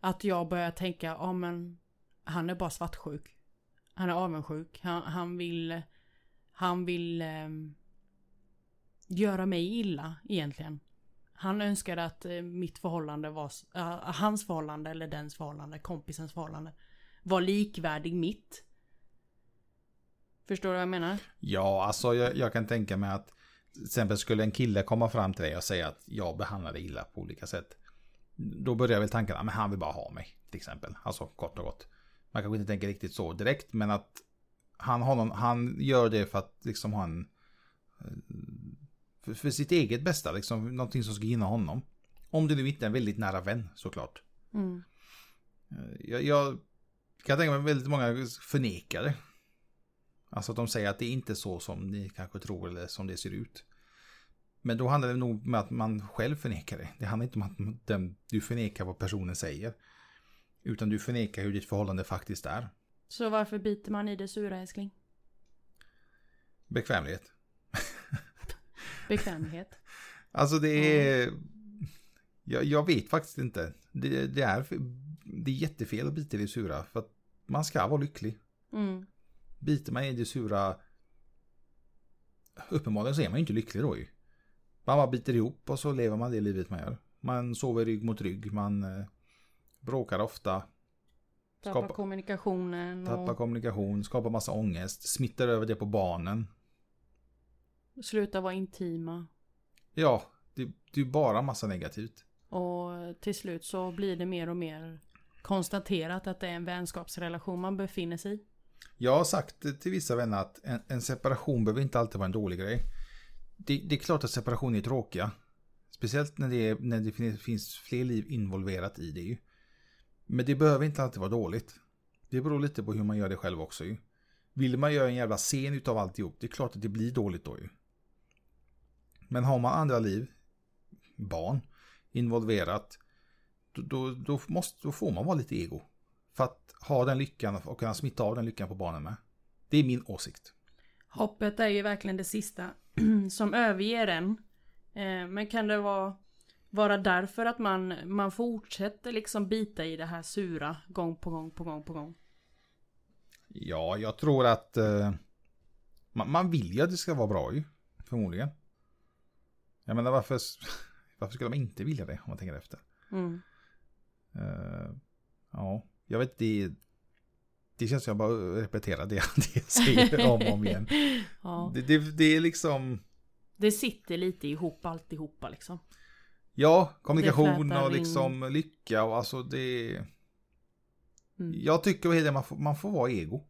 Speaker 2: Att jag börjar tänka, ja men han är bara svartsjuk. Han är avundsjuk. Han, han vill, han vill ehm, göra mig illa egentligen. Han önskade att eh, mitt förhållande var, s- eh, hans förhållande eller dens förhållande, kompisens förhållande var likvärdig mitt. Förstår du vad jag menar?
Speaker 1: Ja, alltså jag, jag kan tänka mig att till exempel skulle en kille komma fram till dig och säga att jag behandlar dig illa på olika sätt. Då börjar väl tanken att han vill bara ha mig. Till exempel. Alltså kort och gott. Man kanske inte tänker riktigt så direkt men att han, har någon, han gör det för att liksom ha en... eh, För, för sitt eget bästa liksom. Någonting som ska gynna honom. Om det nu inte är en väldigt nära vän såklart.
Speaker 2: Mm.
Speaker 1: Eh, Jag, jag kan tänka mig väldigt många förnekare. Alltså att de säger att det är inte så som ni kanske tror eller som det ser ut. Men då handlar det nog om att man själv förnekar det. Det handlar inte om att den, du förnekar vad personen säger. Utan du förnekar hur ditt förhållande faktiskt är.
Speaker 2: Så varför biter man i det sura älskling?
Speaker 1: Bekvämlighet.
Speaker 2: Bekvämlighet.
Speaker 1: Alltså det är... Jag, jag vet faktiskt inte. Det, det, är, det är jättefel att bita i det sura. För att man ska vara lycklig.
Speaker 2: Mm.
Speaker 1: biter man i det sura Uppenbarligen så är man ju inte lycklig då ju. Man bara biter ihop och så lever man det livet man gör. Man sover rygg mot rygg, man eh, bråkar ofta,
Speaker 2: Tappa
Speaker 1: Skapa-
Speaker 2: kommunikationen
Speaker 1: tappar
Speaker 2: och
Speaker 1: kommunikation, skapar massa ångest, smittar över det på barnen.
Speaker 2: sluta vara intima.
Speaker 1: Ja, det, det är ju bara massa negativt.
Speaker 2: Och till slut så blir det mer och mer konstaterat att det är en vänskapsrelation man befinner sig i.
Speaker 1: Jag har sagt till vissa vänner att en, en separation behöver inte alltid vara en dålig grej. Det, det är klart att separationer är tråkiga. Speciellt när det, är, när det fin- finns fler liv involverat i det ju. Men det behöver inte alltid vara dåligt. Det beror lite på hur man gör det själv också ju. Vill man göra en jävla scen utav alltihop, det är klart att det blir dåligt då ju. Men har man andra liv, barn, involverat, då, då, då, måste, då får man vara lite ego. För att ha den lyckan och kunna smitta av den lyckan på barnen med. Det är min åsikt.
Speaker 2: Hoppet är ju verkligen det sista som överger en. Eh, Men kan det vara, vara därför att man, man fortsätter liksom bita i det här sura gång på gång på gång på gång?
Speaker 1: Ja, jag tror att eh, man, man vill ju att det ska vara bra ju. Förmodligen. Jag menar varför, varför skulle man inte vilja det om man tänker efter?
Speaker 2: Mm.
Speaker 1: Eh, ja, jag vet det. Det känns som jag bara repeterar det, det jag säger om och om igen.
Speaker 2: Ja.
Speaker 1: Det, det, det är liksom,
Speaker 2: Det sitter lite ihop alltihopa liksom.
Speaker 1: ja, kommunikation
Speaker 2: flätar
Speaker 1: och
Speaker 2: in.
Speaker 1: liksom lycka och alltså det.
Speaker 2: Mm.
Speaker 1: Jag tycker vad heter det, man får, man får vara ego.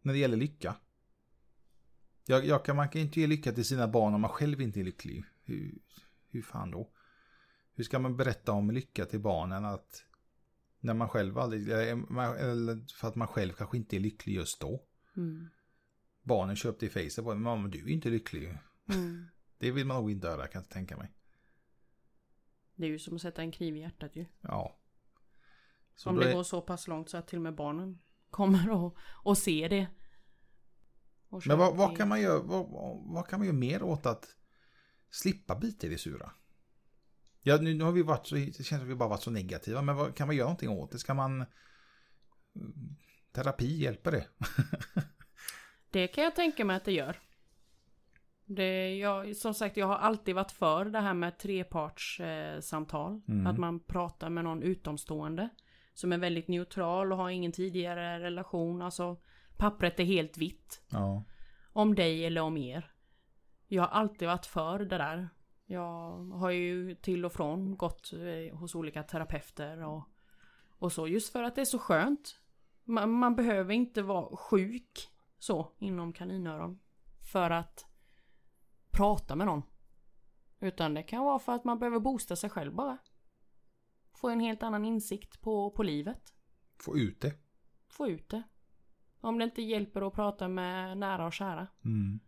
Speaker 1: När det gäller lycka. Jag, jag kan, man kan inte ge lycka till sina barn om man själv inte är lycklig. Hur, hur fan då? Hur ska man berätta om lycka till barnen att när man själv aldrig, eller eh, man- eller för att man själv kanske inte är lycklig just då.
Speaker 2: Mm.
Speaker 1: Barnen köpte i Facebook, bara, mamma du är inte lycklig.
Speaker 2: Mm.
Speaker 1: Det vill man nog inte höra kan jag tänka mig.
Speaker 2: Det är ju som att sätta en kniv i hjärtat ju.
Speaker 1: Ja. Så
Speaker 2: Om
Speaker 1: då
Speaker 2: det
Speaker 1: är-
Speaker 2: går så pass långt så att till och med barnen kommer och, och ser det. Och
Speaker 1: Men vad, vad,
Speaker 2: köper
Speaker 1: kan man göra, vad, vad- vad kan man göra mer åt att slippa bita i det sura? Ja, nu, nu har vi varit så, det känns som att vi bara varit så negativa, men vad, kan man mm, göra någonting åt det? Ska man... Terapi hjälper det?
Speaker 2: det. Det kan jag tänka mig att det gör. Det, jag, som sagt, jag har alltid varit för det här med trepartssamtal. Eh, samtal.
Speaker 1: Mm.
Speaker 2: Att man pratar med någon utomstående. Som är väldigt neutral och har ingen tidigare relation. Alltså, pappret är helt vitt.
Speaker 1: Ja.
Speaker 2: Om dig eller om er. Jag har alltid varit för det där. Jag har ju till och från gått eh, hos olika terapeuter och, och så. Just för att det är så skönt. Man, man behöver inte vara sjuk så inom kaninöron. För att prata med någon. Utan det kan vara för att man behöver boosta sig själv bara. Få en helt annan insikt på, på livet
Speaker 1: Få ut det.
Speaker 2: få ut det. Om det inte hjälper att prata med nära och kära.
Speaker 1: Mm.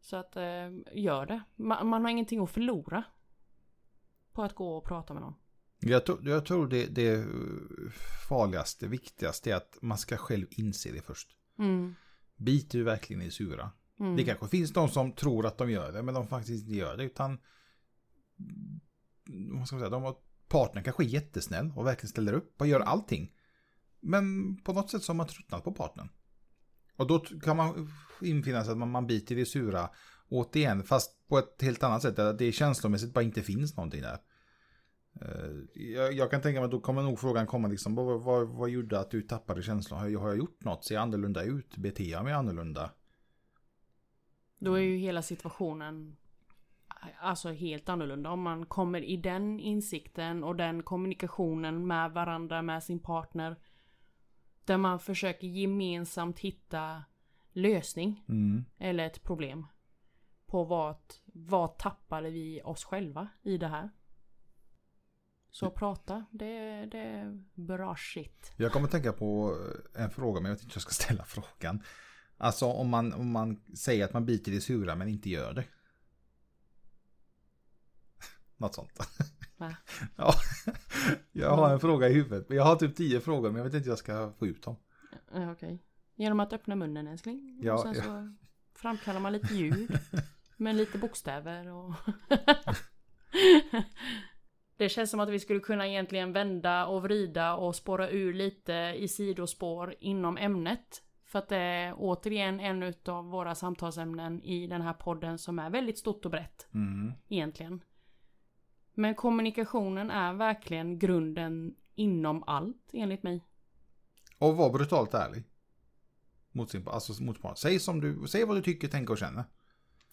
Speaker 2: Så att, eh, gör det. Man, man har ingenting att förlora. På att gå och prata med någon.
Speaker 1: Jag, tror- jag tror det, det farligaste, viktigaste är att man ska själv inse det först.
Speaker 2: Mm.
Speaker 1: Biter du verkligen i sura?
Speaker 2: Mm.
Speaker 1: Det kanske finns de som tror att de gör det, men de faktiskt inte gör det. Utan, vad ska man säga, de har, partnern kanske är jättesnäll och verkligen ställer upp och gör allting. Men på något sätt så har man tröttnat på partnern. Och då t- kan man infinna sig att man, man biter i det sura återigen, fast på ett helt annat sätt. Att det känslomässigt bara inte finns någonting där. Eh, Jag, jag kan tänka mig att då kommer nog frågan komma liksom, vad, vad, vad gjorde att du tappade känslan? Har jag, har jag gjort något? Ser jag annorlunda ut? Beter jag mig annorlunda?
Speaker 2: Då är ju hela situationen alltså helt annorlunda. Om man kommer i den insikten och den kommunikationen med varandra, med sin partner. Där man försöker gemensamt hitta lösning
Speaker 1: Mm.
Speaker 2: eller ett problem. På vad, vad tappade vi oss själva i det här? Så prata, det, det är bra shit.
Speaker 1: Jag kommer att tänka på eh, en fråga, men jag vet inte hur jag ska ställa frågan. Alltså om man, om man säger att man biter i det sura men inte gör det. Något sånt.
Speaker 2: Va?
Speaker 1: Ja. Jag har en fråga i huvudet. men Jag har typ tio frågor men jag vet inte hur jag ska få ut dem.
Speaker 2: Ja, Okej. Genom att öppna munnen älskling.
Speaker 1: Ja,
Speaker 2: och sen
Speaker 1: ja.
Speaker 2: så framkallar man lite ljud. med lite bokstäver och... Det känns som att vi skulle kunna egentligen vända och vrida och spåra ur lite i sidospår inom ämnet. För att det är återigen en utav våra samtalsämnen i den här podden som är väldigt stort och brett
Speaker 1: Mm.
Speaker 2: egentligen. Men kommunikationen är verkligen grunden inom allt enligt mig.
Speaker 1: Och var brutalt ärlig. Mot sin, alltså mot partner. Säg, som du, säg vad du tycker, tänker och känner.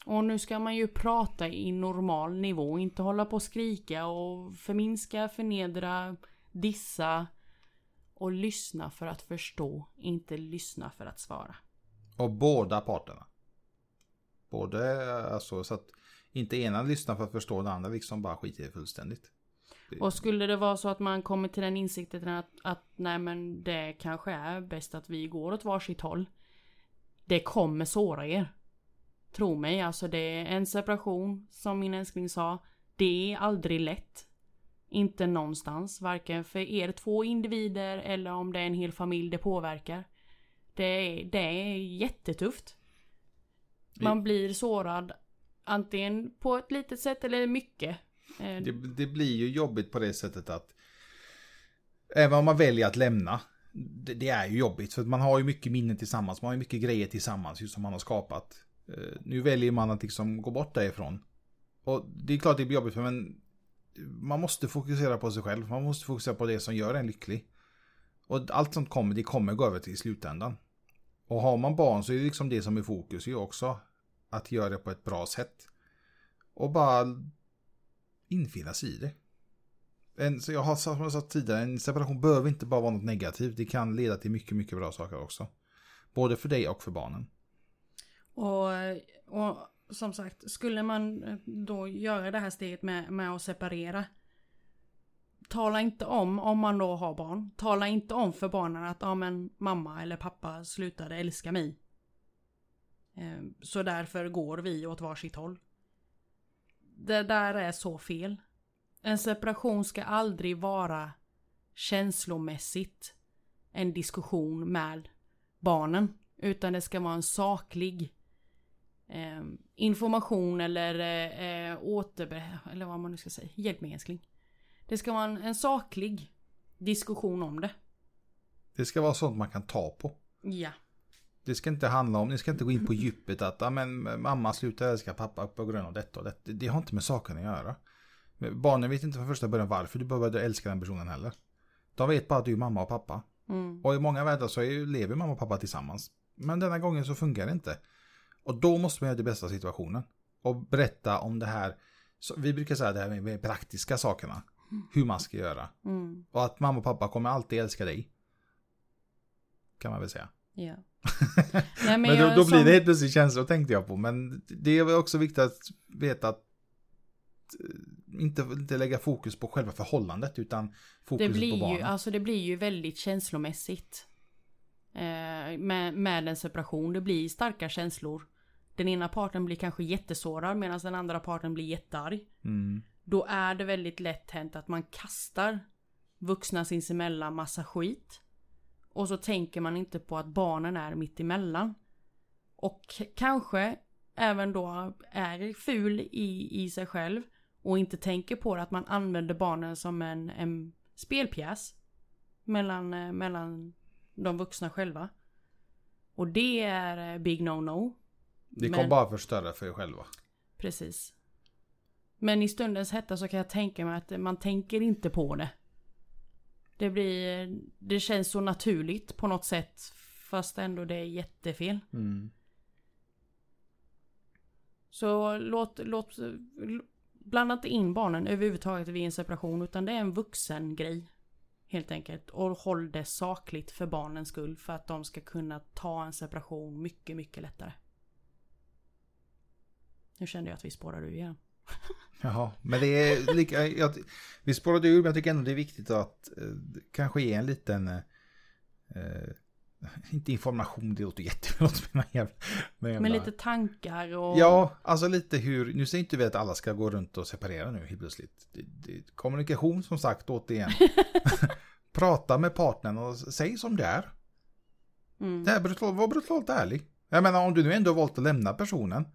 Speaker 2: Och nu ska man ju prata i normal nivå, inte hålla på och skrika och förminska, förnedra, dissa. Och lyssna för att förstå, inte lyssna för att svara.
Speaker 1: Och båda parterna. Både alltså så att inte ena lyssnar för att förstå den andra liksom bara skiter i det fullständigt.
Speaker 2: Och skulle det vara så att man kommer till den insikten att, att nej men det kanske är bäst att vi går åt varsitt håll. Det kommer såra er. Tro mig, alltså det är en separation som min älskling sa. Det är aldrig lätt. Inte någonstans, varken för er två individer eller om det är en hel familj det påverkar. Det är, det är jättetufft. Man blir sårad antingen på ett litet sätt eller mycket. Eh,
Speaker 1: Det, det blir ju jobbigt på det sättet att även om man väljer att lämna, det, det är ju jobbigt för att man har ju mycket minnen tillsammans, man har ju mycket grejer tillsammans just som man har skapat. Eh, Nu väljer man att liksom gå bort därifrån. Och det är klart det blir jobbigt för men man måste fokusera på sig själv, man måste fokusera på det som gör en lycklig. Och allt som kommer, det kommer gå över till i slutändan. Och har man barn så är det liksom det som är fokus ju också. Att göra det på ett bra sätt. Och bara infinna sig i det. En, så jag har som jag sa tidigare, en separation behöver inte bara vara något negativt. Det kan leda till mycket, mycket bra saker också. Både för dig och för barnen.
Speaker 2: Och, och som sagt, skulle man då göra det här steget med, med att separera. Tala inte om, om man då har barn, tala inte om för barnen att ja men mamma eller pappa slutade älska mig. Eh, Så därför går vi åt varsitt håll. Det där är så fel. En separation ska aldrig vara känslomässigt en diskussion med barnen. Utan det ska vara en saklig eh, information eller eh, eh, återbe... Eller vad man nu ska säga. Hjälp mig älskling. Det ska vara en, en saklig diskussion om det.
Speaker 1: Det ska vara sånt man kan ta på.
Speaker 2: Ja.
Speaker 1: Det ska inte handla om, ni ska inte gå in på djupet att "Ah, men, mamma slutar älska pappa på grund av detta och detta. Det har inte med saken att göra. Barnen vet inte från första början varför du behöver älska den personen heller. De vet bara att du är mamma och pappa.
Speaker 2: Mm.
Speaker 1: Och i många världar så är, ju- lever mamma och pappa tillsammans. Men denna gången så funkar det inte. Och då måste man göra det bästa av situationen. Och berätta om det här. Så vi brukar säga det här med- med praktiska sakerna. Hur man ska göra.
Speaker 2: Mm.
Speaker 1: Och att mamma och pappa kommer alltid älska dig. Kan man väl säga.
Speaker 2: Ja. Nej, men
Speaker 1: Men,
Speaker 2: jag
Speaker 1: då, då blir
Speaker 2: som-
Speaker 1: det helt plötsligt känslor tänkte jag på. Men det är väl också viktigt att veta att eh, inte, inte lägga fokus på själva förhållandet utan
Speaker 2: Det
Speaker 1: fokus på
Speaker 2: blir, ju,
Speaker 1: barnen.
Speaker 2: alltså det blir ju väldigt känslomässigt. Eh, med, med en separation. Det blir starka känslor. Den ena parten blir kanske jättesårad medan den andra parten blir jättearg.
Speaker 1: Mm.
Speaker 2: Då är det väldigt lätt hänt att man kastar vuxna sinsemellan massa skit. Och så tänker man inte på att barnen är mitt emellan. Och k- kanske även då är ful i, i sig själv. Och inte tänker på det, att man använder barnen som en, en spelpjäs. Mellan, eh, mellan de vuxna själva. Och det är eh, big no-no.
Speaker 1: Det kommer
Speaker 2: Men-
Speaker 1: bara förstöra för er själva.
Speaker 2: Precis. Men i stundens hetta så kan jag tänka mig att man tänker inte på det. Det blir, det känns så naturligt på något sätt. Fast ändå det är jättefel.
Speaker 1: Mm.
Speaker 2: Så låt, låt, blanda inte in barnen överhuvudtaget vid en separation. Utan det är en vuxen grej. Helt enkelt. Och håll det sakligt för barnens skull. För att de ska kunna ta en separation mycket, mycket lättare. Nu kände jag att vi spårade ur igen.
Speaker 1: Jaha, men det är lika, jag, vi spårade ur men jag tycker ändå det är viktigt att eh, kanske ge en liten, eh, eh, inte information, det låter jätteförlåt men jävla, men jävla,
Speaker 2: Med lite tankar och...
Speaker 1: Ja, alltså lite hur, nu säger inte vi att alla ska gå runt och separera nu helt plötsligt. Det, det, kommunikation som sagt återigen. Prata med partnern och säg som det är.
Speaker 2: Mm.
Speaker 1: Det här är brutal, var brutalt ärlig. Jag menar om du nu ändå har valt att lämna personen,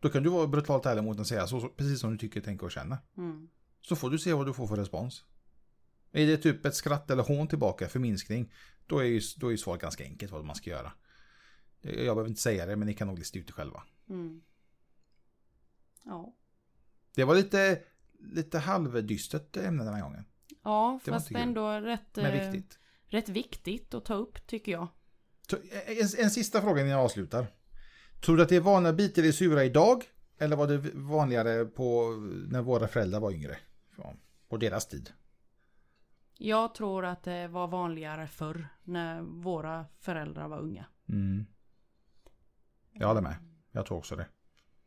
Speaker 1: då kan du vara brutalt ärlig mot den och säga så, så, precis som du tycker, tänker och känner.
Speaker 2: Mm.
Speaker 1: Så får du se vad du får för respons. Är det typ ett skratt eller hån tillbaka, förminskning, då är ju, då är ju svaret ganska enkelt vad man ska göra. Jag behöver inte säga det, men ni kan nog lista ut det själva.
Speaker 2: Mm. Ja.
Speaker 1: Det var lite, lite halvdystert ämne den här gången,
Speaker 2: Ja,
Speaker 1: Det var
Speaker 2: fast
Speaker 1: inte kul.
Speaker 2: ändå rätt,
Speaker 1: men
Speaker 2: eh,
Speaker 1: viktigt.
Speaker 2: rätt viktigt att ta upp tycker jag.
Speaker 1: Så, eh, En, en sista fråga innan jag avslutar. Tror du att det är vanliga bitar i sura idag? Eller var det vanligare på när våra föräldrar var yngre? Ja, På deras tid.
Speaker 2: Jag tror att det var vanligare förr när våra föräldrar var unga.
Speaker 1: Mm. Jag håller med. Jag tror också det.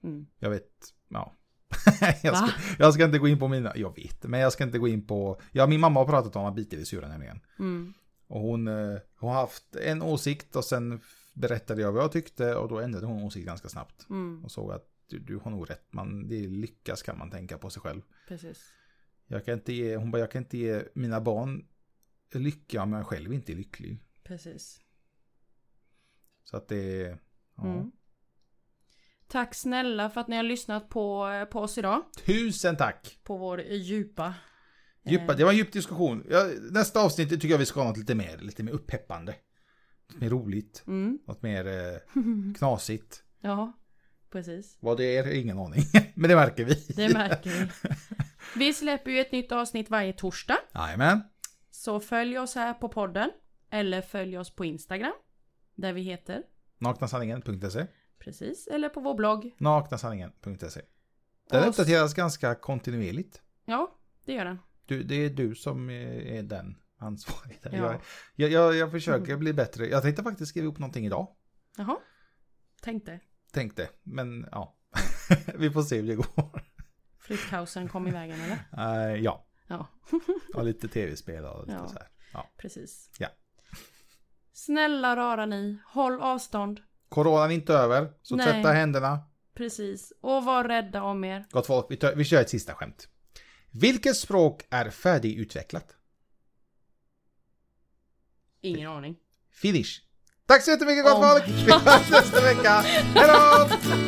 Speaker 2: Mm.
Speaker 1: Jag vet, ja. jag, ska,
Speaker 2: Va?
Speaker 1: jag ska inte gå in på mina, jag vet, men jag ska inte gå in på, ja min mamma har pratat om att bita i sura nämligen.
Speaker 2: Mm.
Speaker 1: Och hon, eh, hon har haft en åsikt och sen f- berättade jag vad jag tyckte och då ändrade hon åsikt ganska snabbt.
Speaker 2: Mm.
Speaker 1: Och såg att du, du har nog rätt, man, det är lyckas kan man tänka på sig själv.
Speaker 2: Precis.
Speaker 1: Jag kan inte ge, hon bara, jag kan inte ge mina barn lycka om jag själv inte är lycklig.
Speaker 2: Precis.
Speaker 1: Så att det är, ja.
Speaker 2: Mm. Tack snälla för att ni har lyssnat på, på oss idag.
Speaker 1: Tusen tack!
Speaker 2: På vår djupa...
Speaker 1: Djupa,
Speaker 2: Eh.
Speaker 1: det var en djup diskussion. Ja, nästa avsnitt tycker jag vi ska ha något lite mer, lite mer upppeppande. Något mer roligt,
Speaker 2: Mm.
Speaker 1: något mer eh, knasigt.
Speaker 2: Ja, precis.
Speaker 1: Vad det är, ingen aning. Men det märker vi.
Speaker 2: Det märker vi. Vi släpper ju ett nytt avsnitt varje torsdag.
Speaker 1: Jajamän.
Speaker 2: Så följ oss här på podden. Eller följ oss på Instagram. Där vi heter.
Speaker 1: Naknasanningen.se.
Speaker 2: Precis. Eller på vår blogg.
Speaker 1: Naknasanningen.se. E. Den
Speaker 2: Och-
Speaker 1: uppdateras ganska kontinuerligt.
Speaker 2: Ja, det gör den.
Speaker 1: Du, det är du som eh, är den ansvariga.
Speaker 2: Ja. Mm.
Speaker 1: Jag, jag, jag, jag försöker bli bättre. Jag tänkte faktiskt skriva upp någonting idag.
Speaker 2: Jaha. Tänkte.
Speaker 1: Tänkte, men ja. vi får se hur det går.
Speaker 2: Flyttkaosen kom i vägen eller?
Speaker 1: Eh, ja,
Speaker 2: Ja,
Speaker 1: och lite tv-spel och lite
Speaker 2: Ja.
Speaker 1: så här. Ja.
Speaker 2: precis.
Speaker 1: Ja.
Speaker 2: Snälla rara ni. Håll avstånd.
Speaker 1: Coronan är inte över, så
Speaker 2: Nej.
Speaker 1: tvätta händerna.
Speaker 2: Precis. Och var rädda om er.
Speaker 1: Gott folk, vi, tö- vi kör ett sista skämt. Vilket språk är färdigutvecklat?
Speaker 2: Ingen aning.
Speaker 1: Finish. Tack så jättemycket gott
Speaker 2: Oh my
Speaker 1: folk! Vi hörs nästa vecka. Hej då!